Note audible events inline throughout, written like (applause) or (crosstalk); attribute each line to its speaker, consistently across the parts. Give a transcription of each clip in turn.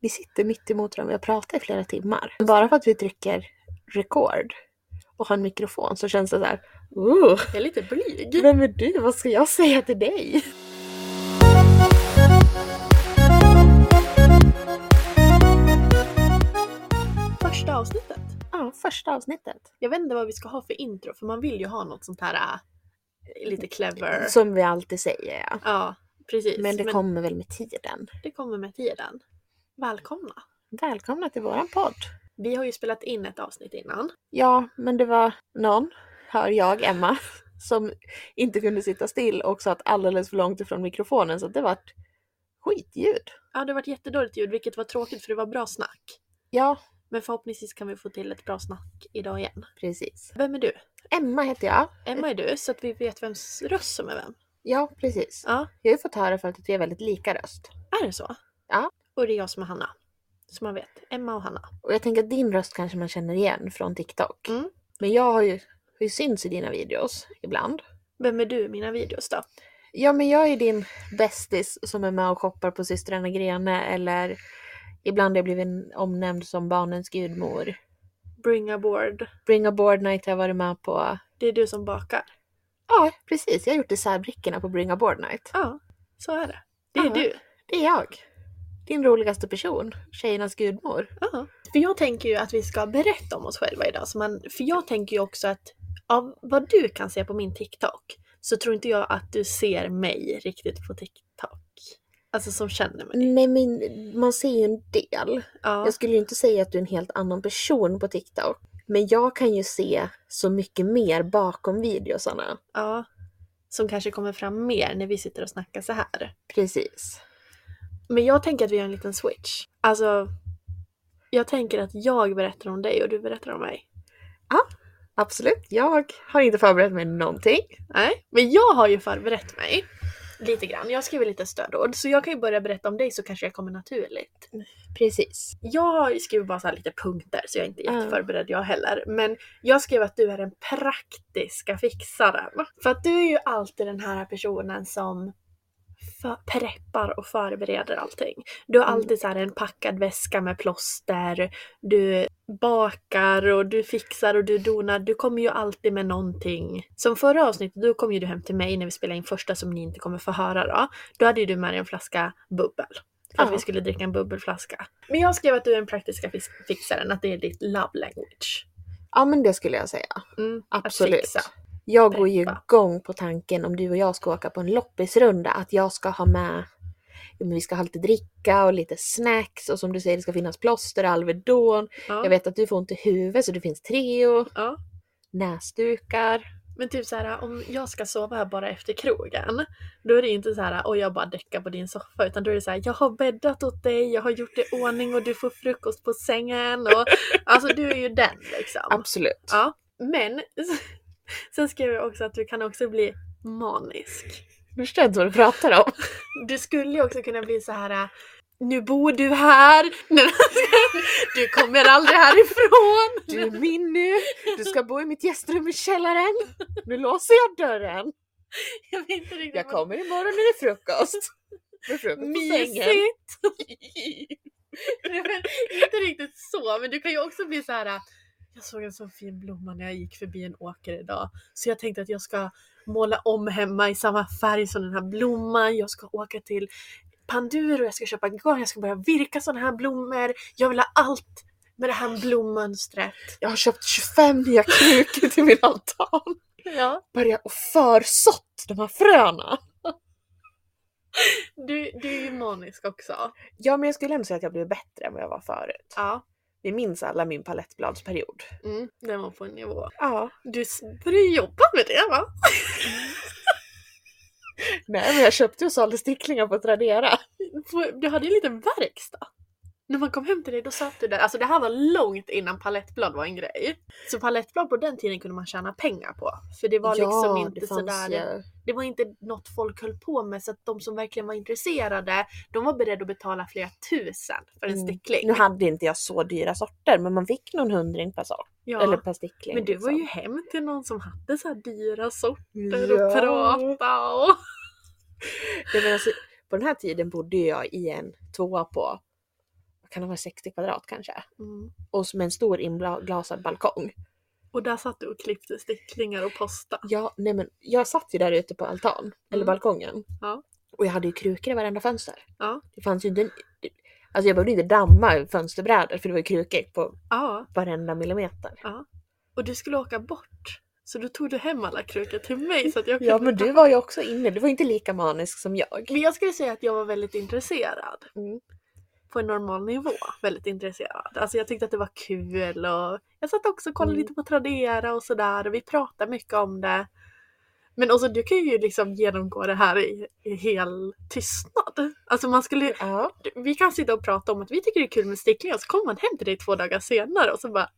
Speaker 1: Vi sitter mitt emot dem. Jag pratar i flera timmar. Bara för att vi trycker rekord och har en mikrofon så känns det så här. Uh,
Speaker 2: Jag är lite blyg.
Speaker 1: vem är du? Vad ska jag säga till dig?
Speaker 2: Första avsnittet.
Speaker 1: Ja, första avsnittet.
Speaker 2: Jag vet inte vad vi ska ha för intro för man vill ju ha något sånt här äh, lite clever.
Speaker 1: Som vi alltid säger ja.
Speaker 2: Ja, precis.
Speaker 1: Men det kommer väl med tiden.
Speaker 2: det kommer med tiden. Välkomna.
Speaker 1: Välkomna till våran podd.
Speaker 2: Vi har ju spelat in ett avsnitt innan.
Speaker 1: Ja, men det var någon, hör jag, Emma, som inte kunde sitta still och satt alldeles för långt ifrån mikrofonen så att det vart skitljud.
Speaker 2: Ja, det har varit jättedåligt ljud vilket var tråkigt för det var bra snack.
Speaker 1: Ja,
Speaker 2: Men förhoppningsvis kan vi få till ett bra snack idag igen.
Speaker 1: precis.
Speaker 2: Vem är du?
Speaker 1: Emma heter jag.
Speaker 2: Emma är du så att vi vet vems röst som är vem.
Speaker 1: Ja, precis.
Speaker 2: Ja,
Speaker 1: Jag har ju fått höra förut att vi är väldigt lika röst.
Speaker 2: är det så?
Speaker 1: Ja.
Speaker 2: Och det är jag som är Hanna. Så man vet. Emma och Hanna.
Speaker 1: Och jag tänker att din röst kanske man känner igen från TikTok.
Speaker 2: Mm.
Speaker 1: Men jag har ju, har ju synts i dina videos ibland.
Speaker 2: Vem är du i mina videos då?
Speaker 1: Ja, men jag är din bästis som är med och shoppar på systrarna Grene eller ibland har jag blivit omnämnd som barnens gudmor.
Speaker 2: Bring a board.
Speaker 1: Bring a board night har jag varit med på.
Speaker 2: Det är du som bakar.
Speaker 1: Ja, precis. Jag har gjort isärbrickorna på Bring a board night.
Speaker 2: Ja, så är det. Det är
Speaker 1: Ja.
Speaker 2: du.
Speaker 1: Det är jag. Din roligaste person, tjejernas gudmor.
Speaker 2: Ja. För jag tänker ju att vi ska berätta om oss själva idag. Så man, för jag tänker ju också att av vad du kan se på min TikTok så tror inte jag att du ser mig riktigt på TikTok. Alltså som känner mig.
Speaker 1: Nej men man ser ju en del.
Speaker 2: Ja,
Speaker 1: Jag skulle ju inte säga att du är en helt annan person på TikTok. Men jag kan ju se så mycket mer bakom videosarna.
Speaker 2: ja. Som kanske kommer fram mer när vi sitter och snackar så här.
Speaker 1: Precis.
Speaker 2: Men jag tänker att vi gör en liten switch. Alltså, jag tänker att jag berättar om dig och du berättar om mig.
Speaker 1: Absolut. Jag har inte förberett mig någonting.
Speaker 2: Nej, men jag har ju förberett mig. Lite grann. Jag har skrivit lite stödord. Så jag kan ju börja berätta om dig så kanske jag kommer naturligt.
Speaker 1: Precis.
Speaker 2: Jag har ju skrivit bara så här lite punkter så jag är inte
Speaker 1: Ja.
Speaker 2: jätteförberedd jag heller. Men jag skrev att du är den praktiska fixaren. För att du är ju alltid den här personen som för- preppar och förbereder allting. Du har
Speaker 1: Mm.
Speaker 2: alltid så här en packad väska med plåster, du bakar och du fixar och du donar. Du kommer ju alltid med någonting. Som förra avsnittet, då kom ju du hem till mig när vi spelade in första som ni inte kommer få höra då. Då hade ju du med dig en flaska bubbel. För att
Speaker 1: Ja.
Speaker 2: vi skulle dricka en bubbelflaska. Men jag skrev att du är den praktiska fix- fixaren, att det är ditt love language.
Speaker 1: Ja men det skulle jag säga.
Speaker 2: Mm, att
Speaker 1: Absolut.
Speaker 2: fixa.
Speaker 1: Jag går ju
Speaker 2: Peppa.
Speaker 1: igång på tanken om du och jag ska åka på en loppisrunda att jag ska ha med Jo, men vi ska ha lite dricka och lite snacks och som du säger det ska finnas plåster och Alvedon.
Speaker 2: Ja,
Speaker 1: Jag vet att du får ont i huvudet så det finns Treo,
Speaker 2: ja.
Speaker 1: näsdukar.
Speaker 2: Men typ så här, om jag ska sova här bara efter krogen, då är det inte så här och jag bara däckar på din soffa utan då är det så här jag har bäddat åt dig, jag har gjort det i ordning och du får frukost på sängen
Speaker 1: (laughs)
Speaker 2: och alltså du är ju den liksom.
Speaker 1: Absolut.
Speaker 2: Ja, men (laughs) sen skrev jag också att du kan också bli manisk.
Speaker 1: Du förstår inte vad du pratar om.
Speaker 2: Du skulle ju också kunna bli så här. äh, Nu bor du här! (laughs) Du kommer aldrig härifrån!
Speaker 1: Du är min nu. Du ska bo i mitt gästrum i källaren. Nu låser jag dörren.
Speaker 2: (laughs) Jag vet inte riktigt
Speaker 1: Jag
Speaker 2: vad-
Speaker 1: kommer imorgon när det är frukost. med frukost på sängen.
Speaker 2: Mysigt! (laughs) Nej, men inte riktigt så, men du kan ju också bli så här. äh, Jag såg en sån fin blomma när jag gick förbi en åker idag, så jag tänkte att jag ska måla om hemma i samma färg som den här blomman. Jag ska åka till Panduro, jag ska köpa en garn, jag ska börja virka såna här blommor. Jag vill ha allt med det här blommönstret.
Speaker 1: Jag har köpt 25 nya krukor till min altan.
Speaker 2: Ja.
Speaker 1: Börja och försått de här fröna.
Speaker 2: Du, du är ju manisk också.
Speaker 1: Ja, men jag skulle ändå säga att jag blev bättre än vad jag var förut.
Speaker 2: Ja,
Speaker 1: Vi minns alla min palettbladsperiod.
Speaker 2: mm, den var på en nivå.
Speaker 1: Ja,
Speaker 2: Du s- börjar jobba med det va?
Speaker 1: nej men jag köpte och sålde sticklingar på Tradera.
Speaker 2: På- Du hade ju en liten verkstad. När man kom hem till dig då satt du där. Alltså det här var långt innan palettblad var en grej. Så palettblad på den tiden kunde man tjäna pengar på. För det var liksom inte
Speaker 1: fanns
Speaker 2: sådär.
Speaker 1: ju-
Speaker 2: Det var inte något folk höll på med så att de som verkligen var intresserade de var beredda att betala flera tusen för en
Speaker 1: Mm.
Speaker 2: stickling.
Speaker 1: Nu hade inte jag så dyra sorter, men man fick någon hundring per sort.
Speaker 2: Ja.
Speaker 1: Eller per stickling.
Speaker 2: Men du var ju
Speaker 1: liksom.
Speaker 2: hem till någon som hade så här dyra sorter
Speaker 1: Ja.
Speaker 2: och prata
Speaker 1: (laughs)
Speaker 2: och...
Speaker 1: Nej, men alltså, på den här tiden bodde jag i en tvåa på, vad kan det vara, 60 kvadrat kanske?
Speaker 2: Mm.
Speaker 1: Och som en stor inglasad balkong.
Speaker 2: Och där satt du och klippte sticklingar och posta.
Speaker 1: Ja, nej men jag satt ju där ute på altan, eller
Speaker 2: Mm.
Speaker 1: balkongen.
Speaker 2: Ja.
Speaker 1: Och jag hade ju krukor i varenda fönster.
Speaker 2: Ja.
Speaker 1: Det fanns ju inte... en- Alltså jag behövde inte damma fönsterbrädor för det var ju krukor på
Speaker 2: Ja.
Speaker 1: varenda millimeter.
Speaker 2: Och du skulle åka bort. Så då tog du hem alla krukor till mig så att jag kunde
Speaker 1: Ja men du
Speaker 2: ta-
Speaker 1: var ju också inne, du var inte lika manisk som jag.
Speaker 2: Men jag skulle säga att jag var väldigt intresserad.
Speaker 1: Mm.
Speaker 2: På en normal nivå. Väldigt intresserad. Alltså jag tyckte att det var kul och jag satt också och kollade
Speaker 1: Mm.
Speaker 2: lite på Tradera och sådär och vi pratade mycket om det. Men också du kan ju liksom genomgå det här i, i hel tystnad. Alltså man skulle,
Speaker 1: Ja.
Speaker 2: vi kan sitta och prata om att vi tycker det är kul med sticklingar och så kommer man hem till dig två dagar senare och så bara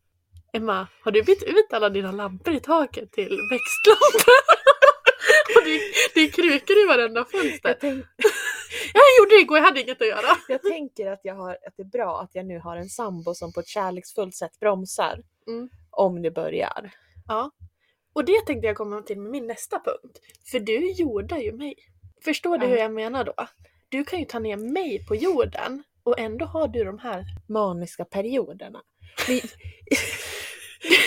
Speaker 2: Emma, har du bytt ut alla dina lampor i taket till växtlampor? (laughs) och det, det är krukor i varenda fönster.
Speaker 1: (laughs) Jag,
Speaker 2: (laughs)
Speaker 1: tänk,
Speaker 2: Jag gjorde det igår, jag hade inget att göra.
Speaker 1: jag tänker att, jag har, att det är bra att jag nu har en sambo som på ett kärleksfullt sätt bromsar.
Speaker 2: Mm.
Speaker 1: Om det börjar.
Speaker 2: Och det tänkte jag komma till med min nästa punkt. För du jordar ju mig. Förstår du
Speaker 1: Ja.
Speaker 2: hur jag menar då? Du kan ju ta ner mig på jorden och ändå har du de här.
Speaker 1: Maniska perioderna.
Speaker 2: (laughs)
Speaker 1: Men,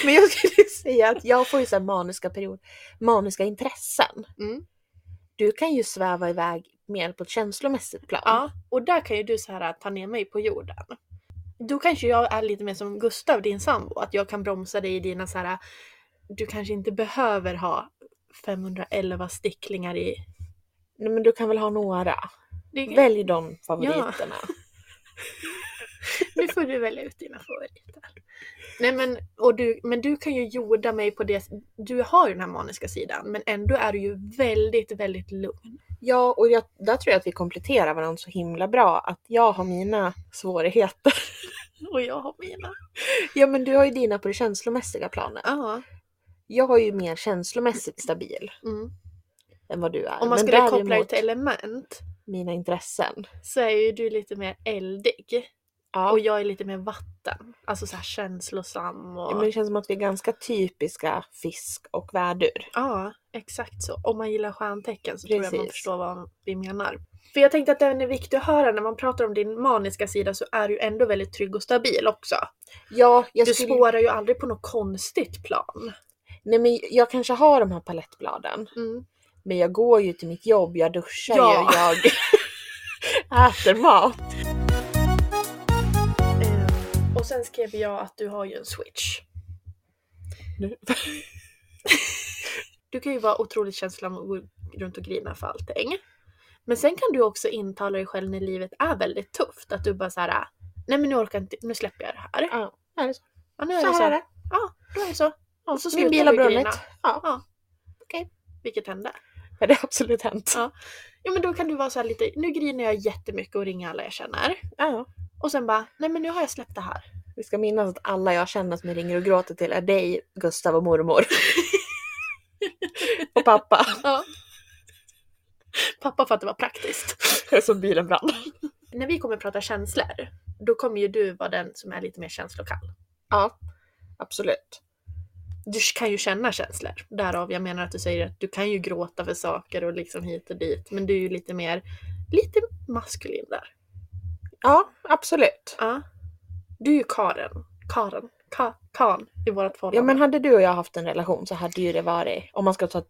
Speaker 1: men jag skulle säga att jag får ju så här maniska perioder, maniska intressen.
Speaker 2: Mm.
Speaker 1: Du kan ju sväva iväg mer på ett känslomässigt plan.
Speaker 2: Ja, och där kan ju du så här ta ner mig på jorden. Då kanske jag är lite mer som Gustav, din sambo, att jag kan bromsa dig i dina så här. Du kanske inte behöver ha 511 sticklingar i.
Speaker 1: Nej, men du kan väl ha några?
Speaker 2: Det,
Speaker 1: Välj de favoriterna.
Speaker 2: Nu får du välja ut dina favoriter. Nej men, och du, men du kan ju jorda mig på det, du har ju den här maniska sidan men ändå är du ju väldigt, väldigt lugn.
Speaker 1: Ja, och jag, där tror jag att vi kompletterar varandra så himla bra. Att jag har mina svårigheter.
Speaker 2: (laughs) Och jag har mina.
Speaker 1: Ja, men du har ju dina på det känslomässiga planet.
Speaker 2: Ja.
Speaker 1: Jag är ju mer känslomässigt stabil
Speaker 2: Mm.
Speaker 1: än vad du är.
Speaker 2: Om man
Speaker 1: men
Speaker 2: skulle koppla det till element
Speaker 1: mina intressen.
Speaker 2: så är ju du lite mer eldig
Speaker 1: Ja.
Speaker 2: och jag är lite mer vatten. Alltså så här känslosam och...
Speaker 1: Ja, men det känns som att vi är ganska typiska fisk och vädur.
Speaker 2: Ja, exakt så. Om man gillar stjärntecken så tror jag man
Speaker 1: Precis.
Speaker 2: förstår vad vi menar. För jag tänkte att den är viktig att höra när man pratar om din maniska sida så är du ändå väldigt trygg och stabil också.
Speaker 1: Ja, jag,
Speaker 2: Du
Speaker 1: skulle...
Speaker 2: spårar ju aldrig på något konstigt plan.
Speaker 1: Nej, men jag kanske har de här palettbladen, men jag går ju till mitt jobb, jag duschar
Speaker 2: Ja.
Speaker 1: ju,
Speaker 2: (laughs)
Speaker 1: jag äter mat.
Speaker 2: Eh, Och sen skrev jag att du har ju en switch.
Speaker 1: Nu-
Speaker 2: (laughs) Du kan ju vara otroligt känslosam och gå runt och grina för allting. Men sen kan du också intala dig själv när livet är väldigt tufft att du bara så här. nej men nu orkar jag inte, nu släpper jag det här.
Speaker 1: Ja, är det så?
Speaker 2: Ja, nu är
Speaker 1: Så
Speaker 2: det så.
Speaker 1: här är det.
Speaker 2: Ja, då är det så. Och så
Speaker 1: Min
Speaker 2: slutar
Speaker 1: bil har
Speaker 2: du
Speaker 1: brunnit.
Speaker 2: grina.
Speaker 1: Ja,
Speaker 2: Ja.
Speaker 1: Okej.
Speaker 2: Vilket hände.
Speaker 1: det har absolut hänt.
Speaker 2: Ja. Ja men då kan du vara så här lite, nu griner jag jättemycket och ringer alla jag känner.
Speaker 1: Ja.
Speaker 2: Och sen bara, nej men nu har jag släppt det här.
Speaker 1: Vi ska minnas att alla jag känner som jag ringer och gråter till är dig, Gustav och
Speaker 2: (laughs)
Speaker 1: mormor. och pappa.
Speaker 2: Ja. Pappa för att det var praktiskt.
Speaker 1: Som bilen brann.
Speaker 2: När vi kommer prata känslor, då kommer ju du vara den som är lite mer känslokall.
Speaker 1: Ja, absolut.
Speaker 2: Du kan ju känna känslor. Därav jag menar att du säger att du kan ju gråta för saker och liksom hit och dit. Men du är ju lite mer lite maskulin där.
Speaker 1: Ja, absolut.
Speaker 2: Ja. Du är ju Karen. Karen. Ka kan i vårat förhållande.
Speaker 1: Ja men hade du och jag haft en relation så hade ju det varit, om man ska ta t-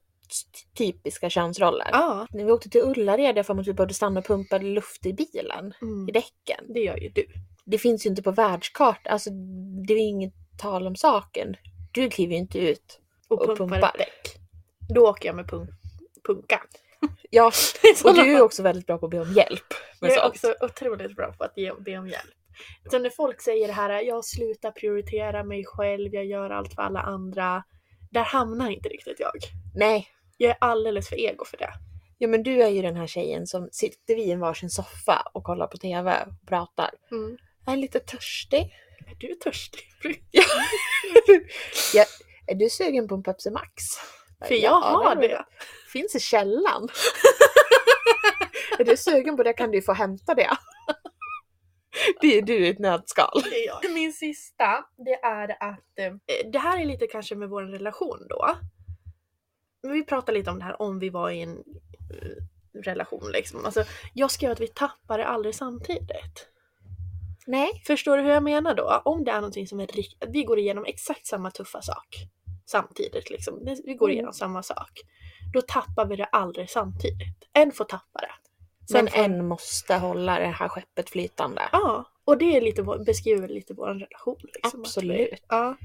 Speaker 1: typiska könsroller.
Speaker 2: Ja,
Speaker 1: När vi åkte till Ullared jag för mig att vi behövde stanna och pumpa luft i bilen,
Speaker 2: Mm.
Speaker 1: i däcken.
Speaker 2: det gör ju du.
Speaker 1: Det finns ju inte på världskartan, alltså det är ju inget tal om saken. Du kliver ju inte ut.
Speaker 2: Och,
Speaker 1: Och
Speaker 2: pumpar
Speaker 1: pumpar.
Speaker 2: ett däck. Då åker jag med punk punka.
Speaker 1: Ja, (laughs) och
Speaker 2: (laughs)
Speaker 1: du är ju också väldigt bra på att be om hjälp. med
Speaker 2: Jag är
Speaker 1: sånt.
Speaker 2: också otroligt bra på att ge, be om hjälp. Så när folk säger det här, jag slutar prioritera mig själv, jag gör allt för alla andra. Där hamnar inte riktigt jag.
Speaker 1: Nej,
Speaker 2: Jag är alldeles för ego för det.
Speaker 1: ja men du är ju den här tjejen som sitter vi i en varsin soffa och kollar på TV och pratar.
Speaker 2: Mm.
Speaker 1: Jag är lite törstig.
Speaker 2: Är du törstig? (laughs)
Speaker 1: (laughs) ja, är du sugen på en Pepsi Max?
Speaker 2: För
Speaker 1: Ja,
Speaker 2: jag har
Speaker 1: är väl-
Speaker 2: det.
Speaker 1: Finns i
Speaker 2: (laughs)
Speaker 1: källan. är du sugen på det kan du få hämta det. Det är du i ett nötskal.
Speaker 2: Det är jag. Min sista, det är att eh, det här är lite kanske med vår relation då. Men vi pratar lite om det här om vi var i en eh, relation liksom. Alltså, jag skrev att vi tappar det aldrig samtidigt.
Speaker 1: Nej.
Speaker 2: Förstår du hur jag menar då? Om det är någonting som är riktigt, vi går igenom exakt samma tuffa sak samtidigt liksom. Det- Vi går
Speaker 1: Mm.
Speaker 2: igenom samma sak. Då tappar vi det aldrig samtidigt. En får tappa det.
Speaker 1: Men
Speaker 2: får-
Speaker 1: en måste hålla det här skeppet flytande.
Speaker 2: Ja, och det är lite, vår- beskriver lite vår relation. Liksom, att vi-
Speaker 1: Absolut.
Speaker 2: Ja.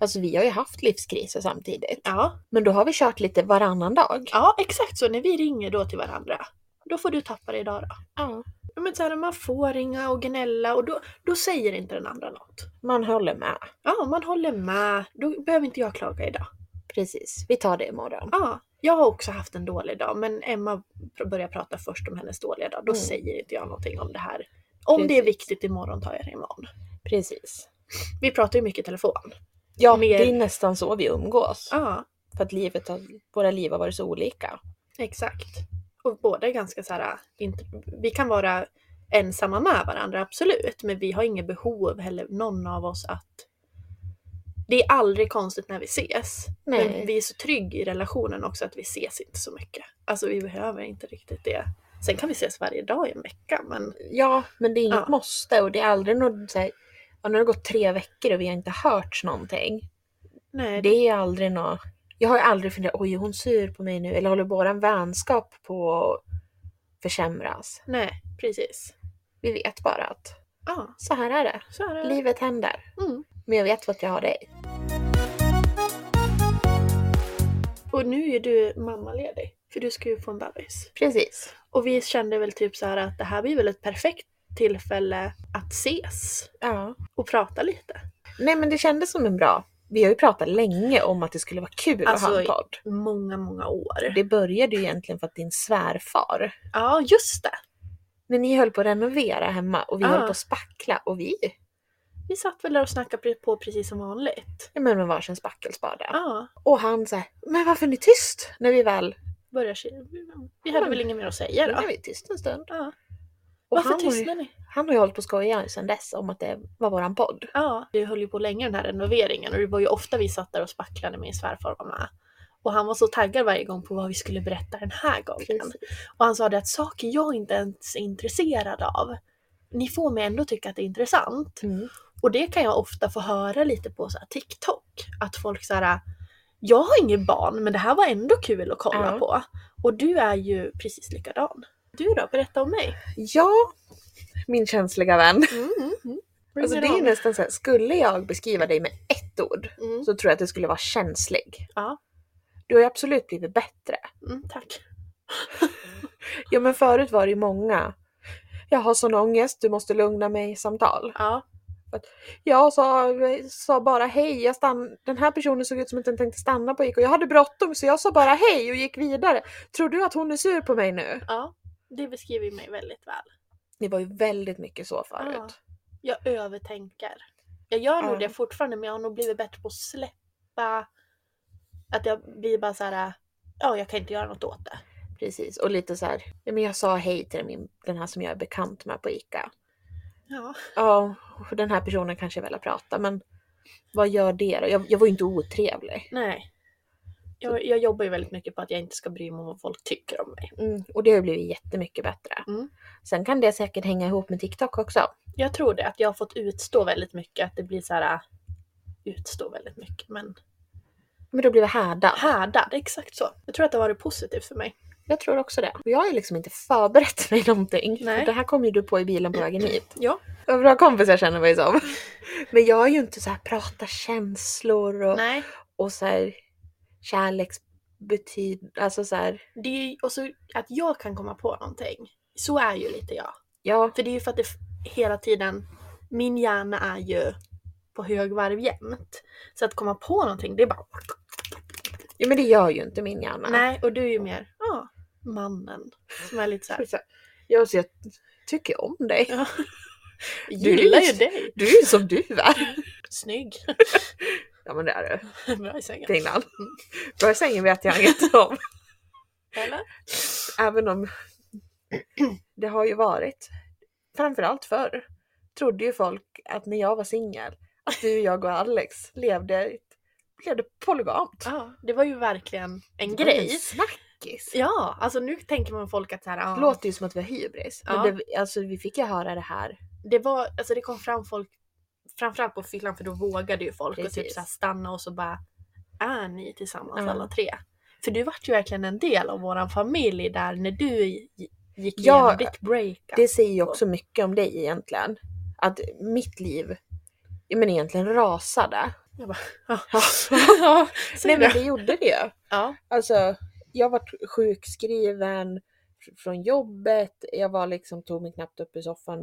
Speaker 1: Alltså vi har ju haft livskriser samtidigt.
Speaker 2: ja,
Speaker 1: Men då har vi kört lite varannan dag.
Speaker 2: Ja, exakt så. När vi ringer då till varandra, då får du tappa det idag då.
Speaker 1: Ja.
Speaker 2: Ja, Men så här, man får ringa och gnälla och då, då säger inte den andra något.
Speaker 1: Man håller med.
Speaker 2: Ja, man håller med. Då behöver inte jag klaga idag.
Speaker 1: Precis, vi tar det imorgon.
Speaker 2: Ja, jag har också haft en dålig dag, men Emma pr- börjar prata först om hennes dåliga dag. Då
Speaker 1: Mm.
Speaker 2: säger inte jag någonting om det här. Om det är
Speaker 1: Precis.
Speaker 2: viktigt imorgon tar jag det imorgon.
Speaker 1: Precis.
Speaker 2: Vi pratar ju mycket i telefon.
Speaker 1: Ja,
Speaker 2: Mer-
Speaker 1: det är nästan så vi umgås.
Speaker 2: Ja,
Speaker 1: För att livet har, våra liv har varit så olika.
Speaker 2: exakt. Och båda är ganska så här, inte, vi kan vara ensamma med varandra, absolut. Men vi har inget behov heller, någon av oss att... Det är aldrig konstigt när vi ses.
Speaker 1: Nej.
Speaker 2: Men vi är så trygga i relationen också att vi ses inte så mycket. Alltså vi behöver inte riktigt det. Sen kan vi ses varje dag i en vecka, men
Speaker 1: Ja, men det är inget
Speaker 2: Ja.
Speaker 1: måste och det är aldrig något så här, ja, nu har det gått tre veckor och vi har inte hört någonting.
Speaker 2: nej.
Speaker 1: Det är aldrig något, jag har ju aldrig funderat, oj är hon sur på mig nu eller håller våran vänskap på att försämras?
Speaker 2: Nej, precis.
Speaker 1: Vi vet bara att
Speaker 2: Ja,
Speaker 1: så här är det,
Speaker 2: så är det.
Speaker 1: livet händer.
Speaker 2: Mm.
Speaker 1: Men jag vet att jag har dig.
Speaker 2: Och nu är du mammaledig, för du ska ju få en bebis.
Speaker 1: Precis.
Speaker 2: Och vi kände väl typ så här att det här blir väl ett perfekt tillfälle att ses
Speaker 1: Ja.
Speaker 2: och prata lite.
Speaker 1: Nej men det kändes som en bra, vi har ju pratat länge om att det skulle vara kul att ha en
Speaker 2: Alltså,
Speaker 1: podd.
Speaker 2: Många, många år.
Speaker 1: Det började ju egentligen för att din svärfar,
Speaker 2: Ja, just det.
Speaker 1: när ni höll på att renovera hemma och vi
Speaker 2: Ja.
Speaker 1: höll på att spackla och vi
Speaker 2: Vi satt väl där och snackade på precis som vanligt.
Speaker 1: Ja men med varsin spackelspade.
Speaker 2: Ja,
Speaker 1: Och han såhär, men varför är ni tyst? När vi väl,
Speaker 2: börjar se. Vi hade väl inget mer att säga
Speaker 1: nu är
Speaker 2: då.
Speaker 1: vi tyst en stund.
Speaker 2: Ja.
Speaker 1: Och
Speaker 2: Varför
Speaker 1: han,
Speaker 2: tystnar
Speaker 1: tystnade?
Speaker 2: ni?
Speaker 1: han har ju hållit på och skojat sedan dess om att det var våran podd.
Speaker 2: Ja, det höll ju på länge den här renoveringen och det var ju ofta vi satt där och spacklade när min svärfar var med. Och han var så taggad varje gång på vad vi skulle berätta den här gången. Och han sa det att saker jag inte ens är intresserad av, ni får mig ändå tycka att det är intressant.
Speaker 1: Mm.
Speaker 2: Och det kan jag ofta få höra lite på så här TikTok. Att folk så här, jag har inget barn men det här var ändå kul att kolla
Speaker 1: Ja.
Speaker 2: på. Och du är ju precis likadan. Du då, berätta om mig.
Speaker 1: Ja, min känsliga vän.
Speaker 2: Bring
Speaker 1: Alltså
Speaker 2: it
Speaker 1: det är ju
Speaker 2: on.
Speaker 1: nästan såhär, skulle jag beskriva dig med ett ord
Speaker 2: Mm.
Speaker 1: så tror jag att det skulle vara känslig.
Speaker 2: Ja.
Speaker 1: Du har ju absolut blivit bättre.
Speaker 2: Mm, tack.
Speaker 1: Ja men förut var det ju många, jag har sån ångest, du måste lugna mig samtal.
Speaker 2: Ja,
Speaker 1: Jag sa, sa bara hej, jag stann, den här personen såg ut som att den tänkte stanna på gick och jag hade bråttom så jag sa bara hej och gick vidare. Tror du att hon är sur på mig nu?
Speaker 2: ja. Det beskriver mig väldigt väl.
Speaker 1: Det var ju väldigt mycket så förut.
Speaker 2: Ja. Jag övertänker. Jag gör nog
Speaker 1: Ja.
Speaker 2: det fortfarande men jag har nog blivit bättre på att släppa. Att jag blir bara så här. ja jag kan inte göra något åt det.
Speaker 1: Precis, och lite så här, ja, men jag sa hej till min, den här som jag är bekant med på ICA.
Speaker 2: Ja.
Speaker 1: Ja, och den här personen kanske jag vill prata men vad gör det då? Jag, jag var ju inte otrevlig.
Speaker 2: Nej. Jag, jag jobbar ju väldigt mycket på att jag inte ska bry mig om vad folk tycker om mig.
Speaker 1: Mm, och det har ju blivit jättemycket bättre.
Speaker 2: Mm.
Speaker 1: Sen kan det säkert hänga ihop med TikTok också.
Speaker 2: Jag tror det, att jag har fått utstå väldigt mycket. Att det blir så här äh, utstå väldigt mycket. Men
Speaker 1: Men då blir vi härdad.
Speaker 2: härdad, exakt så. Jag tror att det har varit positivt för mig.
Speaker 1: Jag tror också det. Jag har ju liksom inte förberett mig någonting.
Speaker 2: Nej.
Speaker 1: För Det här kom ju du på i bilen på vägen hit.
Speaker 2: Ja.
Speaker 1: Vad bra kompisar känner man ju
Speaker 2: (laughs)
Speaker 1: som. Men jag är ju inte så här prata känslor och,
Speaker 2: Nej.
Speaker 1: och så här kärleksbetyd... Alltså så här,
Speaker 2: Det är ju, och så att jag kan komma på någonting. Så är ju lite jag.
Speaker 1: ja.
Speaker 2: För det är ju för att det f- hela tiden, min hjärna är ju på högvarv jämt. Så att komma på någonting, det är bara...
Speaker 1: ja. Men det gör ju inte min hjärna.
Speaker 2: Nej, och du är ju mer, ja, mannen. Som är lite (laughs) såhär,
Speaker 1: Så här, Jag, så jag tycker om dig.
Speaker 2: Ja.
Speaker 1: Du är
Speaker 2: gillar ju
Speaker 1: lite-
Speaker 2: dig.
Speaker 1: Du är ju som du är.
Speaker 2: (laughs) Snygg.
Speaker 1: Ja men det är du.
Speaker 2: Bra i sängen.
Speaker 1: Tingland. Bra sängen vet jag inget om.
Speaker 2: Eller?
Speaker 1: Även om det har ju varit, framförallt förr, trodde ju folk att när jag var singel, att du, jag och Alex levde, levde polygamt.
Speaker 2: Ja, det var ju verkligen en
Speaker 1: Det var ju
Speaker 2: grej.
Speaker 1: En snackis.
Speaker 2: Ja, alltså nu tänker man folk att så här, ja,
Speaker 1: Det låter ju som att vi har hybris.
Speaker 2: Ja.
Speaker 1: Men det, alltså vi fick ju höra det här.
Speaker 2: det var, alltså det kom fram folk, framförallt på fyllan för då vågade ju folk och typ
Speaker 1: Precis.
Speaker 2: så här stanna och så bara, är ni tillsammans
Speaker 1: Ja.
Speaker 2: alla tre? För du vart ju verkligen en del av våran familj där när du gi- gick
Speaker 1: Ja,
Speaker 2: igenom ditt breakup.
Speaker 1: Det säger ju också mycket om dig egentligen. Att mitt liv, ja men egentligen rasade.
Speaker 2: Jag bara, ja. (laughs) ja,
Speaker 1: Nej
Speaker 2: säg
Speaker 1: men
Speaker 2: det.
Speaker 1: det gjorde det ju.
Speaker 2: ja,
Speaker 1: Alltså, jag var sjukskriven fr- från jobbet, jag var liksom, tog mig knappt upp ur soffan.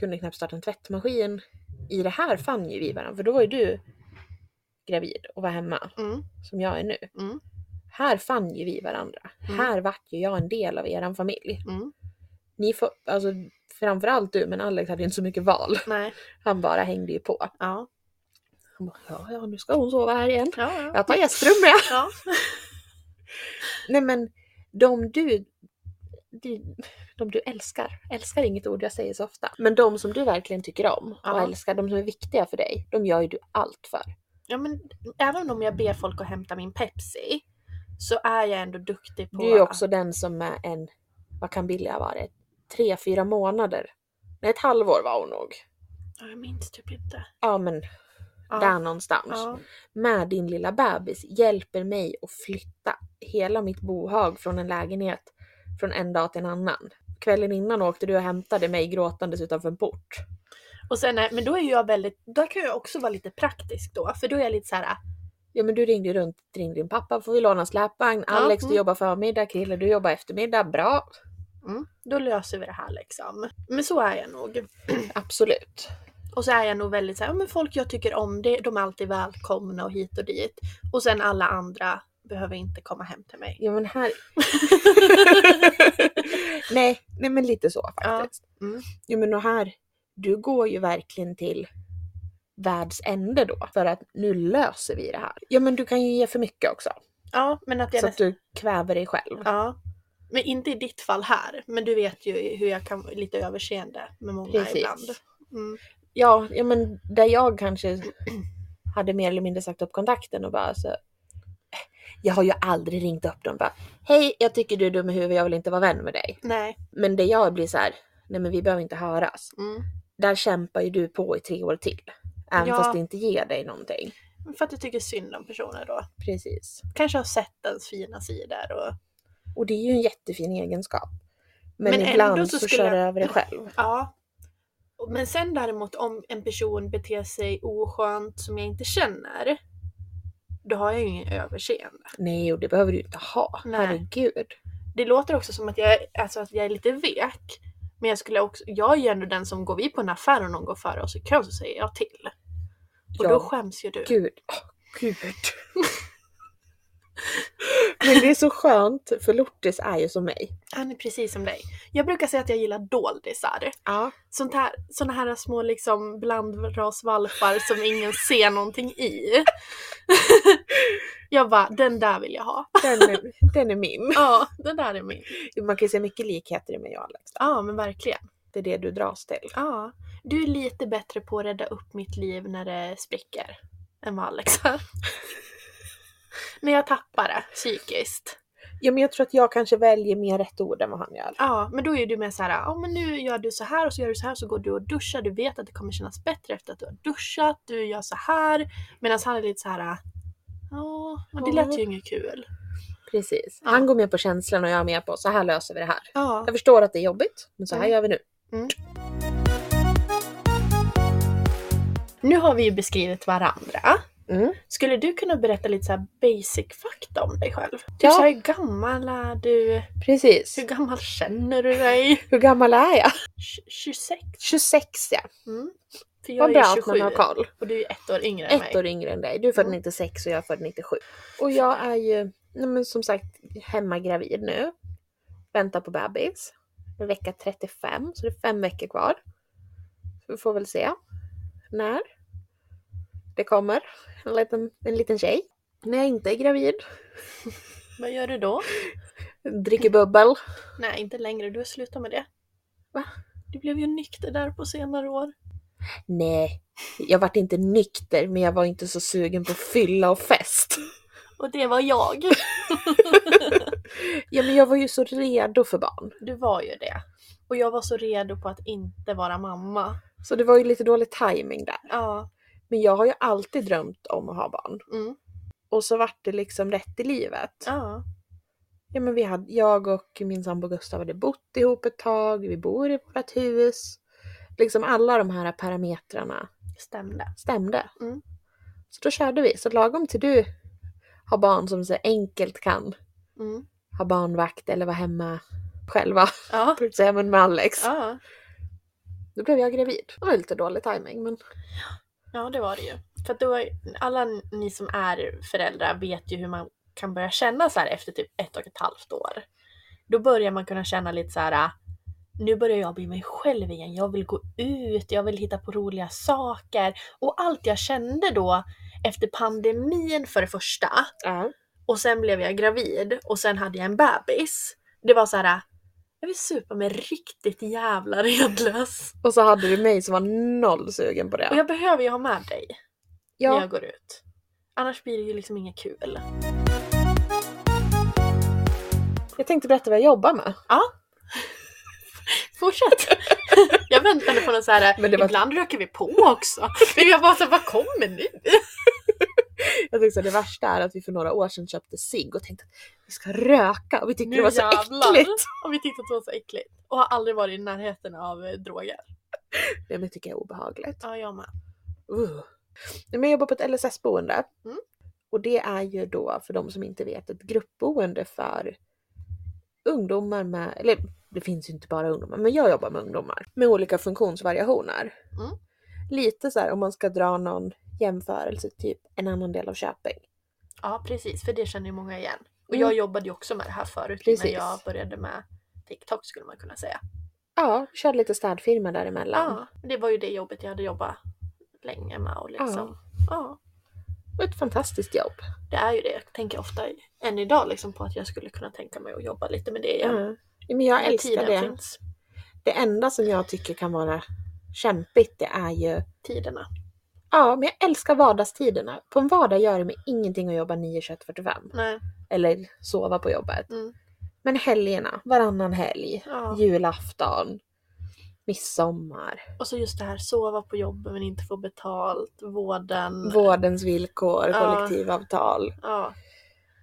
Speaker 1: Kunde knappt starta en tvättmaskin. I det här fann ju vi varandra, för då var ju du gravid och var hemma,
Speaker 2: mm,
Speaker 1: som jag är nu.
Speaker 2: Mm.
Speaker 1: Här fann ju vi varandra.
Speaker 2: Mm.
Speaker 1: Här vart ju jag en del av eran familj.
Speaker 2: mm,
Speaker 1: Ni får, alltså framförallt du, men Alex hade ju inte så mycket val.
Speaker 2: nej,
Speaker 1: Han bara hängde ju på.
Speaker 2: ja.
Speaker 1: Han bara, ja, ja, nu ska hon sova här igen.
Speaker 2: Ja, ja.
Speaker 1: Jag tar gästrum med.
Speaker 2: ja.
Speaker 1: Nej men, de du, du, de du älskar, älskar är inget ord jag säger så ofta, men de som du verkligen tycker om och
Speaker 2: Ja.
Speaker 1: älskar, de som är viktiga för dig, de gör ju du allt för.
Speaker 2: ja, men även om jag ber folk att hämta min Pepsi så är jag ändå duktig på
Speaker 1: Du är ju också den som är en, vad kan Billy ha varit, tre, fyra månader. Nej, ett halvår var hon nog.
Speaker 2: Ja, Jag minns typ inte.
Speaker 1: Ja men,
Speaker 2: Ja.
Speaker 1: där någonstans.
Speaker 2: Ja.
Speaker 1: Med din lilla bebis hjälper mig att flytta hela mitt bohag från en lägenhet från en dag till en annan. Kvällen innan åkte du och hämtade mig gråtandes utanför en port.
Speaker 2: Och sen är, men då är ju jag väldigt, då kan jag också vara lite praktisk då, för då är jag lite så här.
Speaker 1: Ja men du ringde ju runt, ringde din pappa, får vi låna släpvagn?
Speaker 2: Ja,
Speaker 1: Alex
Speaker 2: mm.
Speaker 1: du jobbar förmiddag, Krille du jobbar eftermiddag, bra!
Speaker 2: Mm, då löser vi det här liksom. Men så är jag nog.
Speaker 1: Absolut.
Speaker 2: Och så är jag nog väldigt så här, ja, men folk jag tycker om, det, de är alltid välkomna och hit och dit. Och sen alla andra behöver inte komma hem till mig.
Speaker 1: Ja men här...
Speaker 2: (laughs)
Speaker 1: nej, nej men lite så faktiskt.
Speaker 2: Ja, mm.
Speaker 1: Jo men och här, du går ju verkligen till världs ände då för att nu löser vi det här. Ja men du kan ju ge för mycket också.
Speaker 2: Ja, men att jag
Speaker 1: Så att
Speaker 2: nästan...
Speaker 1: du kväver dig själv.
Speaker 2: Ja. Men inte i ditt fall här, men du vet ju hur jag kan lite överseende med många
Speaker 1: Precis.
Speaker 2: ibland. Mm.
Speaker 1: Ja, ja men där jag kanske hade mer eller mindre sagt upp kontakten och bara så. "Eh, Jag har ju aldrig ringt upp dem bara. Hej, jag tycker du är dum i huvudet, jag vill inte vara vän med dig.
Speaker 2: Nej.
Speaker 1: Men det jag blir så här. Nej men vi behöver inte höras.
Speaker 2: Mm.
Speaker 1: där kämpar ju du på i tre år till. Även
Speaker 2: Ja.
Speaker 1: fast det inte ger dig någonting.
Speaker 2: För att du tycker synd om personer då.
Speaker 1: Precis.
Speaker 2: Kanske har sett ens fina sidor och...
Speaker 1: Och det är ju en jättefin egenskap. Men,
Speaker 2: Men ändå
Speaker 1: ibland
Speaker 2: så
Speaker 1: så,
Speaker 2: skulle-
Speaker 1: kör du över dig
Speaker 2: (laughs)
Speaker 1: själv.
Speaker 2: Ja. Och- Men sen däremot om en person beter sig oskönt som jag inte känner, då har jag ju ingen överseende.
Speaker 1: Nej, och det behöver du ju inte ha.
Speaker 2: Nej.
Speaker 1: Herregud.
Speaker 2: Det låter också som att jag, är- alltså att jag är lite vek. Men jag skulle också, jag är ju ändå den som går vi på en affär och någon går före oss i kön så säger jag till. Och då
Speaker 1: Ja.
Speaker 2: skäms ju du.
Speaker 1: Gud. Åh, gud. (laughs) Men det är så skönt, för Lortis är ju som mig.
Speaker 2: Han är precis som dig. Jag brukar säga att jag gillar doldisar.
Speaker 1: Ja.
Speaker 2: Sånt här, såna här små liksom blandrasvalpar som ingen ser någonting i. (laughs) jag bara, den där vill jag ha.
Speaker 1: Den är, den är min.
Speaker 2: Ja, (laughs) den där är min.
Speaker 1: Man kan ju se mycket likheter i mig och Alex.
Speaker 2: Ja, men verkligen.
Speaker 1: Det är det du dras till.
Speaker 2: Ja. Du är lite bättre på att rädda upp mitt liv när det spricker än vad Alex är. när jag tappar det psykiskt.
Speaker 1: Ja, men jag tror att jag kanske väljer mer rätt ord än vad han gör.
Speaker 2: Ja, men då är du mer så här, ja men nu gör du så här och så gör du så här så går du och duschar, du vet att det kommer kännas bättre efter att du har duschat, du gör så här. Medan han är lite så här, ja, men det lät ju inget kul.
Speaker 1: Precis. Han går med på känslan och jag är med på så här löser vi det här.
Speaker 2: Ja.
Speaker 1: Jag förstår att det är jobbigt, men så här
Speaker 2: Mm.
Speaker 1: gör vi nu.
Speaker 2: Nu har vi ju beskrivit varandra.
Speaker 1: Mm.
Speaker 2: Skulle du kunna berätta lite så här basic fakta om dig själv? Typ
Speaker 1: Ja.
Speaker 2: så här, hur gammal är du?
Speaker 1: Precis.
Speaker 2: Hur gammal känner du dig?
Speaker 1: Hur gammal är jag?
Speaker 2: Tj- 26?
Speaker 1: 26 ja.
Speaker 2: Mm. För
Speaker 1: Vad
Speaker 2: jag
Speaker 1: bra
Speaker 2: är
Speaker 1: att man
Speaker 2: 27
Speaker 1: har koll.
Speaker 2: och du är ett år yngre än
Speaker 1: Ett
Speaker 2: mig.
Speaker 1: år yngre än dig. Du är född 96 och jag är född 97. Och jag är ju nej men som sagt hemmagravid nu. Väntar på bebis. Det är Vecka 35, så det är fem veckor kvar. Vi får väl se när det kommer en liten, en liten tjej. När jag inte är gravid,
Speaker 2: Vad gör du då?
Speaker 1: dricker bubbel.
Speaker 2: Nej, inte längre. Du har slutat med det.
Speaker 1: Va?
Speaker 2: Du blev ju nykter där på senare år.
Speaker 1: Nej, jag vart inte nykter men jag var inte så sugen på fylla och fest. (laughs)
Speaker 2: Och det var jag. (laughs)
Speaker 1: Ja men jag var ju så redo för barn.
Speaker 2: Du var ju det. Och jag var så redo på att inte vara mamma.
Speaker 1: Så det var ju lite dålig timing där.
Speaker 2: Ja.
Speaker 1: Men jag har ju alltid drömt om att ha barn.
Speaker 2: Mm.
Speaker 1: Och så vart det liksom rätt i livet. Ja.
Speaker 2: Ja.
Speaker 1: men vi hade, jag och min sambo Gustav hade bott ihop ett tag, vi bor i vårt hus. Liksom alla de här parametrarna
Speaker 2: Stämde.
Speaker 1: stämde.
Speaker 2: Mm.
Speaker 1: Så då körde vi. Så lagom till du har barn som så enkelt kan
Speaker 2: Mm.
Speaker 1: ha barnvakt eller vara hemma själva, (laughs)
Speaker 2: Ja.
Speaker 1: på säga, men med Alex.
Speaker 2: ja.
Speaker 1: Då blev jag gravid. Det var lite dålig timing men
Speaker 2: Ja, det var det ju. För att då, är- alla ni som är föräldrar vet ju hur man kan börja känna så här efter typ ett och ett halvt år. Då börjar man kunna känna lite så här. "Ah, Nu börjar jag bli mig själv igen. Jag vill gå ut, jag vill hitta på roliga saker. Och allt jag kände då efter pandemin för det första
Speaker 1: ja.
Speaker 2: och sen blev jag gravid och sen hade jag en bebis. Det var så här. "Ah, Jag vill supa mig riktigt jävla redlös.
Speaker 1: Och så hade du mig som var noll sugen på det.
Speaker 2: Och jag behöver ju ha med dig. när
Speaker 1: ja.
Speaker 2: jag går ut. Annars blir det ju liksom inget kul.
Speaker 1: jag tänkte berätta vad jag jobbar med. (laughs)
Speaker 2: Ja. (laughs) Fortsätt. Jag väntade på någon så här,
Speaker 1: (laughs) Men det var-
Speaker 2: ibland röker vi på också. Men jag bara så här, vad kommer nu?
Speaker 1: Jag tyckte att det värsta är att vi för några år sedan köpte cigg och tänkte att vi ska röka och vi tyckte
Speaker 2: Nu
Speaker 1: det var så
Speaker 2: jävlar.
Speaker 1: äckligt.
Speaker 2: Och vi tyckte att det var så äckligt. Och har aldrig varit i närheten av eh, droger.
Speaker 1: Nej men det tycker jag är obehagligt.
Speaker 2: Ja, jag med.
Speaker 1: Uh. Nej, Men jag jobbar på ett LSS-boende.
Speaker 2: Mm.
Speaker 1: Och det är ju då för de som inte vet ett gruppboende för ungdomar med, eller det finns ju inte bara ungdomar, men jag jobbar med ungdomar med olika funktionsvariationer.
Speaker 2: Mm.
Speaker 1: Lite så här om man ska dra någon jämförelse, typ en annan del av Köping.
Speaker 2: Ja, precis. För det känner ju många igen. Och
Speaker 1: Mm.
Speaker 2: jag jobbade ju också med det här förut när
Speaker 1: Precis.
Speaker 2: jag började med TikTok skulle man kunna säga.
Speaker 1: Ja, kör lite städfirma däremellan.
Speaker 2: Ja, det var ju det jobbet jag hade jobbat länge med och liksom. ja.
Speaker 1: Och ett fantastiskt jobb.
Speaker 2: det är ju det. Jag tänker ofta än idag liksom på att jag skulle kunna tänka mig att jobba lite med det igen.
Speaker 1: Ja. Men Mm. jag
Speaker 2: När
Speaker 1: älskar
Speaker 2: tiden
Speaker 1: det.
Speaker 2: Finns.
Speaker 1: Det enda som jag tycker kan vara kämpigt det är ju
Speaker 2: Tiderna.
Speaker 1: Ja, men jag älskar vardagstiderna. På en vardag gör det mig ingenting att jobba 9, 21, 45.
Speaker 2: Nej.
Speaker 1: Eller sova på jobbet.
Speaker 2: Mm.
Speaker 1: Men helgerna, varannan helg,
Speaker 2: Ja.
Speaker 1: julafton. midsommar,
Speaker 2: Och så just det här sova på jobbet men inte få betalt, vården.
Speaker 1: vårdens villkor,
Speaker 2: Mm. Ja.
Speaker 1: kollektivavtal.
Speaker 2: Ja,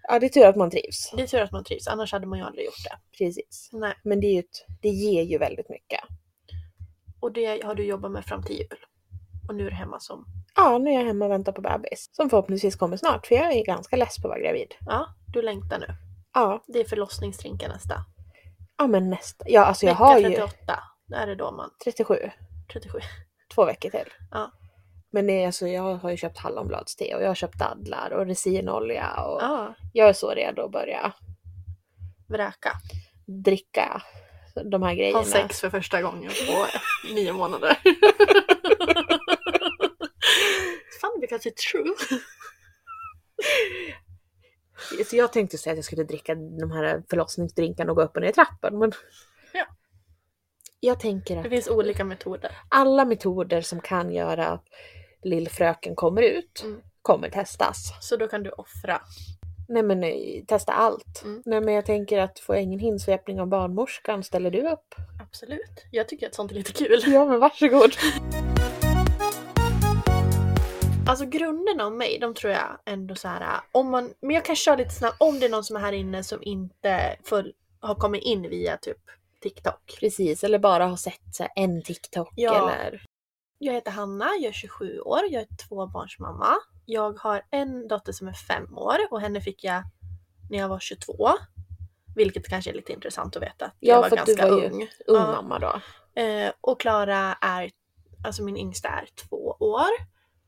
Speaker 1: Ja, det är tur att man trivs.
Speaker 2: det är tur att man trivs, annars hade man ju aldrig gjort det.
Speaker 1: Precis.
Speaker 2: Nej.
Speaker 1: Men det, är ju ett, det ger ju väldigt mycket.
Speaker 2: Och det har du jobbat med fram till jul. Och nu är du hemma som...
Speaker 1: Ja, nu är jag hemma och väntar på bebis. Som förhoppningsvis kommer snart, för jag är ganska less på att vara gravid.
Speaker 2: Ja, du längtar nu.
Speaker 1: Ja,
Speaker 2: Det är förlossningsdrinka nästa.
Speaker 1: ja men nästa. Ja, alltså jag
Speaker 2: Vecka
Speaker 1: har ju
Speaker 2: 38. Där är det då man...
Speaker 1: 37,
Speaker 2: 37.
Speaker 1: två veckor till.
Speaker 2: Ja.
Speaker 1: Men det är alltså, jag har ju köpt hallonbladste och jag har köpt dadlar och resinolja och
Speaker 2: Ja,
Speaker 1: jag är så redo att börja
Speaker 2: vräka.
Speaker 1: dricka de här grejerna.
Speaker 2: Ha sex för första gången (laughs) på nio månader. Fan, because it's true.
Speaker 1: Så jag tänkte säga att jag skulle dricka de här förlossningsdrinkarna och gå upp och ner i trappen men...
Speaker 2: Ja.
Speaker 1: Jag tänker att
Speaker 2: Det finns olika metoder.
Speaker 1: alla metoder som kan göra att lillfröken kommer ut
Speaker 2: Mm.
Speaker 1: kommer testas.
Speaker 2: Så då kan du offra.
Speaker 1: Nej men eh, testa allt.
Speaker 2: Mm.
Speaker 1: Nej men jag tänker att får jag ingen hinsvepning av barnmorskan, ställer du upp?
Speaker 2: Absolut. Jag tycker att sånt är lite kul.
Speaker 1: Ja men varsågod.
Speaker 2: Alltså grunderna om mig, de tror jag ändå så här. Om man, men jag kan köra lite snabbt om det är någon som är här inne som inte full, har kommit in via typ TikTok.
Speaker 1: (laughs) Precis, eller bara ha sett så här, en TikTok
Speaker 2: Ja.
Speaker 1: eller...
Speaker 2: Jag heter Hanna, jag är 27 år, jag är tvåbarnsmamma. Jag har en dotter som är fem år och henne fick jag när jag var 22. Vilket kanske är lite intressant att veta. att
Speaker 1: Ja,
Speaker 2: jag var
Speaker 1: för att du
Speaker 2: ganska
Speaker 1: var ju
Speaker 2: ung.
Speaker 1: Ung
Speaker 2: Ja.
Speaker 1: mamma då.
Speaker 2: Eh, och Klara är, alltså min yngsta är två år.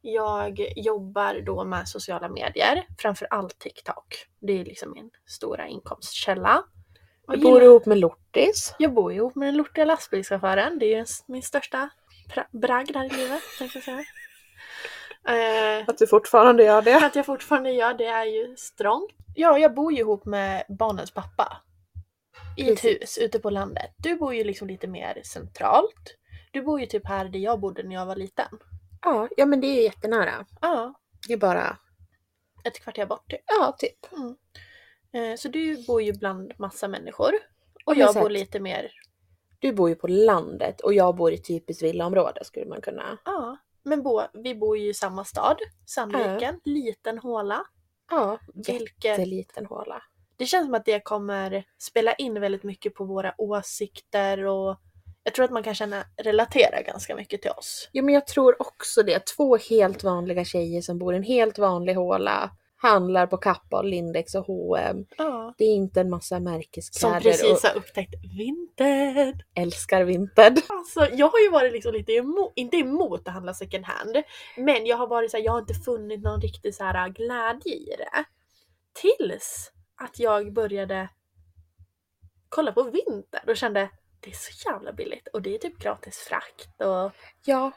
Speaker 2: Jag jobbar då med sociala medier, framförallt TikTok. Det är liksom min stora inkomstkälla.
Speaker 1: Du
Speaker 2: Jag
Speaker 1: bor
Speaker 2: gillar-
Speaker 1: ihop med Lortis.
Speaker 2: jag bor ihop med den lortiga lastbilschauffören. Det är ju ens- min största pra- bragd här i livet, tänkte jag säga. Eh,
Speaker 1: Att du fortfarande gör det.
Speaker 2: att jag fortfarande gör det är ju strångt. Ja, jag bor ju ihop med barnens pappa. I ett
Speaker 1: Precis.
Speaker 2: hus ute på landet. Du bor ju liksom lite mer centralt. Du bor ju typ här där jag bodde när jag var liten.
Speaker 1: Ja, ja men det är ju jättenära.
Speaker 2: Ja,
Speaker 1: Det är bara...
Speaker 2: ett kvarter bort typ.
Speaker 1: Ja, typ.
Speaker 2: Eh, Så du bor ju bland massa människor. Och
Speaker 1: men
Speaker 2: jag
Speaker 1: så
Speaker 2: bor
Speaker 1: att-
Speaker 2: lite mer...
Speaker 1: Du bor ju på landet och jag bor i typiskt villaområde skulle man kunna...
Speaker 2: Ja. Men bo, vi bor ju i samma stad, Sandviken, liten håla.
Speaker 1: Ja,
Speaker 2: Vilket-
Speaker 1: jätteliten håla.
Speaker 2: Det känns som att det kommer spela in väldigt mycket på våra åsikter och jag tror att man kan känna relatera ganska mycket till oss.
Speaker 1: Jo men jag tror också det. Två helt vanliga tjejer som bor i en helt vanlig håla. Handlar på Kappahl, Lindex och H&M.
Speaker 2: Ja.
Speaker 1: Det är inte en massa
Speaker 2: Som
Speaker 1: märkeskläder
Speaker 2: precis
Speaker 1: och
Speaker 2: har upptäckt vintern.
Speaker 1: älskar
Speaker 2: (laughs)
Speaker 1: vinted.
Speaker 2: Alltså jag har ju varit liksom lite emot, inte emot att handla second hand, men jag har varit så här, jag har inte funnit någon riktig så här glädje i det. Tills att jag började kolla på vinter och kände det är så jävla billigt och det är typ gratis frakt och
Speaker 1: Ja,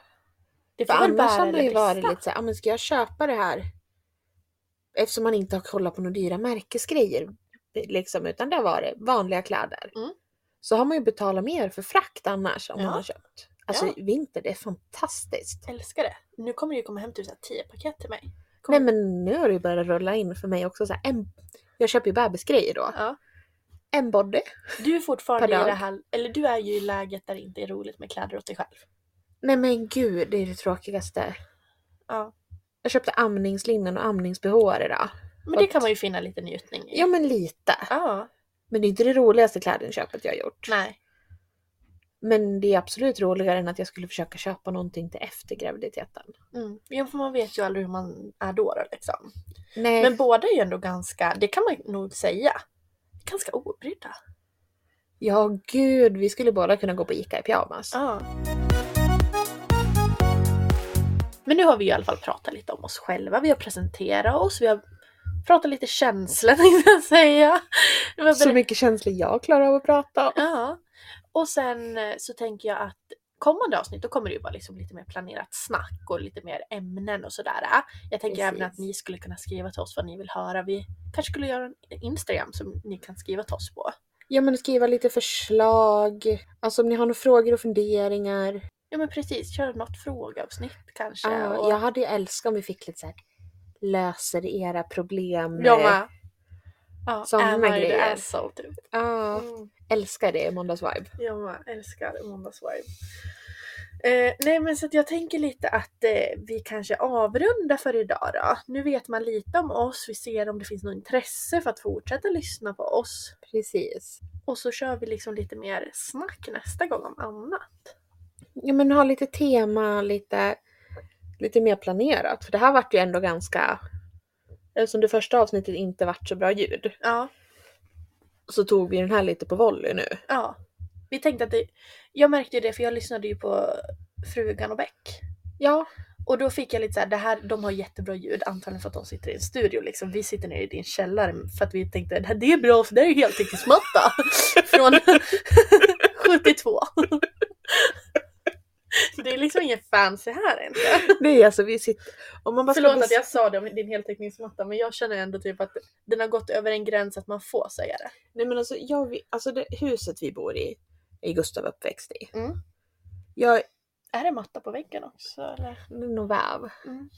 Speaker 2: det
Speaker 1: för
Speaker 2: får väl
Speaker 1: annars
Speaker 2: bära
Speaker 1: hade man
Speaker 2: eller
Speaker 1: ju varit
Speaker 2: brista.
Speaker 1: lite såhär, "Ah, men ska jag köpa det här? Eftersom man inte har kollat på några dyra märkesgrejer. Liksom, utan det har varit vanliga kläder.
Speaker 2: Mm.
Speaker 1: Så har man ju betalat mer för frakt annars om
Speaker 2: Ja.
Speaker 1: man har köpt. Alltså vinter, det är fantastiskt.
Speaker 2: älskar det. Nu kommer det ju komma hem typ så här 10 paket till mig.
Speaker 1: Nej
Speaker 2: Kommer-
Speaker 1: men nu har det ju börjat rulla in för mig också. Så här, en, jag köper ju bebisgrejer då.
Speaker 2: Ja.
Speaker 1: En body.
Speaker 2: Du är fortfarande
Speaker 1: Per
Speaker 2: i
Speaker 1: dag.
Speaker 2: det här, eller du är ju i läget där det inte är roligt med kläder åt dig själv.
Speaker 1: Nej men gud, det är det tråkigaste.
Speaker 2: Ja.
Speaker 1: Jag köpte amningslinnen och amningsbehåar idag.
Speaker 2: Men det
Speaker 1: Att-
Speaker 2: kan man ju finna lite njutning i.
Speaker 1: Ja men lite.
Speaker 2: Ja.
Speaker 1: Men det är inte det roligaste klädinköpet jag har gjort.
Speaker 2: Nej.
Speaker 1: Men det är absolut roligare än att jag skulle försöka köpa någonting till efter graviditeten.
Speaker 2: Mm. Ja, för man vet ju aldrig hur man är då, då liksom.
Speaker 1: Nej,
Speaker 2: Men båda är ju ändå ganska, det kan man nog säga, ganska obrydda.
Speaker 1: ja gud, vi skulle båda kunna gå på ICA i pyjamas.
Speaker 2: Ja. Men nu har vi ju i alla fall pratat lite om oss själva, vi har presenterat oss, vi har pratat lite känslor (laughs) tänkte jag säga. Vi har
Speaker 1: Så
Speaker 2: berättat-
Speaker 1: mycket känslor jag klarar av att prata om.
Speaker 2: Ja. Och sen eh, så tänker jag att kommande avsnitt då kommer det ju vara liksom lite mer planerat snack och lite mer ämnen och sådär. Jag tänker
Speaker 1: Precis.
Speaker 2: även att ni skulle kunna skriva till oss vad ni vill höra. Vi kanske skulle göra en Instagram som ni kan skriva till oss på.
Speaker 1: Ja men skriva lite förslag. Alltså om ni har några frågor och funderingar.
Speaker 2: Ja men precis, kör något frågeavsnitt kanske.
Speaker 1: Ja,
Speaker 2: och...
Speaker 1: jag hade ju älskat om vi fick lite såhär löser era problem.
Speaker 2: Jag med. Ja,
Speaker 1: Såna
Speaker 2: am I the
Speaker 1: grejer.
Speaker 2: asshole, typ.
Speaker 1: Ja,
Speaker 2: Mm.
Speaker 1: älskar det, måndagsvibe.
Speaker 2: Jag med, älskar måndagsvibe. Eh, nej men så att jag tänker lite att eh, vi kanske avrundar för idag då. Nu vet man lite om oss, vi ser om det finns något intresse för att fortsätta lyssna på oss.
Speaker 1: Precis.
Speaker 2: Och så kör vi liksom lite mer snack nästa gång om annat.
Speaker 1: Ja men ha lite tema, lite, lite mer planerat. För det här vart ju ändå ganska... Eftersom det första avsnittet inte vart så bra ljud
Speaker 2: Ja,
Speaker 1: så tog vi den här lite på volley
Speaker 2: (laughs)
Speaker 1: nu.
Speaker 2: ja. Vi tänkte att det, jag märkte ju det för jag lyssnade ju på Frugan och Beck.
Speaker 1: Ja,
Speaker 2: Och då fick jag lite såhär, det här, de har jättebra ljud antagligen för att de sitter i en studio liksom. Vi sitter nere i din källare för att vi tänkte det, här, det är bra för det är
Speaker 1: (laughs)
Speaker 2: ju heltäckningsmatta. Från (laughs) 72. det är liksom ingen fancy här än.
Speaker 1: nej alltså vi sitter... Om man bara ska
Speaker 2: Förlåt
Speaker 1: bes-
Speaker 2: att jag sa det om din heltäckningsmatta men jag känner ändå typ att den har gått över en gräns att man får säga det.
Speaker 1: Nej men alltså, jag, vi- alltså det huset vi bor i är Gustav uppväxt i.
Speaker 2: Mm.
Speaker 1: Jag
Speaker 2: Är det matta på väggen också eller?
Speaker 1: det är nog väv.
Speaker 2: Mm.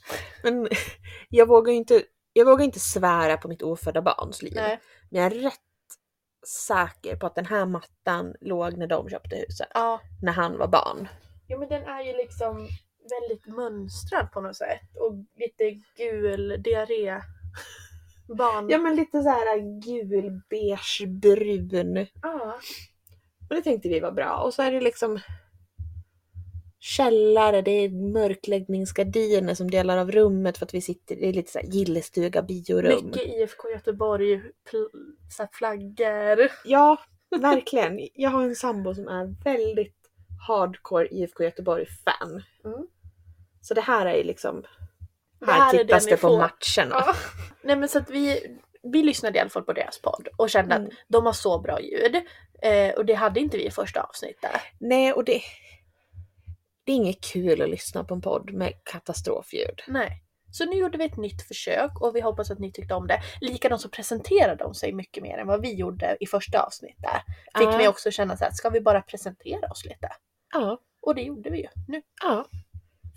Speaker 1: Men (laughs) jag vågar ju inte, jag vågar inte svära på mitt ofödda barns liv.
Speaker 2: Nej.
Speaker 1: Men jag är rätt säker på att den här mattan låg när de köpte huset.
Speaker 2: Ja.
Speaker 1: När han var barn.
Speaker 2: Jo men den är ju liksom väldigt mönstrad på något sätt och lite gul diarré. Barn.
Speaker 1: men lite så här gul, beige, brun.
Speaker 2: Ja.
Speaker 1: Och det tänkte vi var bra. Och så är det liksom källare, det är mörkläggningsgardiner som delar av rummet för att vi sitter, det är lite så här gillestuga, biorum.
Speaker 2: Mycket IFK Göteborg, pl- så här flaggor.
Speaker 1: Ja, verkligen. Jag har en sambo som är väldigt hardcore IFK Göteborg-fan.
Speaker 2: Mm.
Speaker 1: Så det här är ju liksom,
Speaker 2: Det
Speaker 1: här
Speaker 2: är
Speaker 1: tittas
Speaker 2: ni
Speaker 1: det på
Speaker 2: får.
Speaker 1: matcherna.
Speaker 2: Ja. Nej men så att vi, vi lyssnade i alla fall på deras podd och kände
Speaker 1: Mm.
Speaker 2: att de har så bra ljud. Eh, och det hade inte vi i första avsnittet.
Speaker 1: Nej, och det, det är inget kul att lyssna på en podd med katastrofljud.
Speaker 2: Nej. Så nu gjorde vi ett nytt försök och vi hoppas att ni tyckte om det. Likadant så presenterade de sig mycket mer än vad vi gjorde i första avsnittet. Fick
Speaker 1: Ja.
Speaker 2: vi också känna så här, ska vi bara presentera oss lite?
Speaker 1: Ja,
Speaker 2: Och det gjorde vi ju nu.
Speaker 1: ja.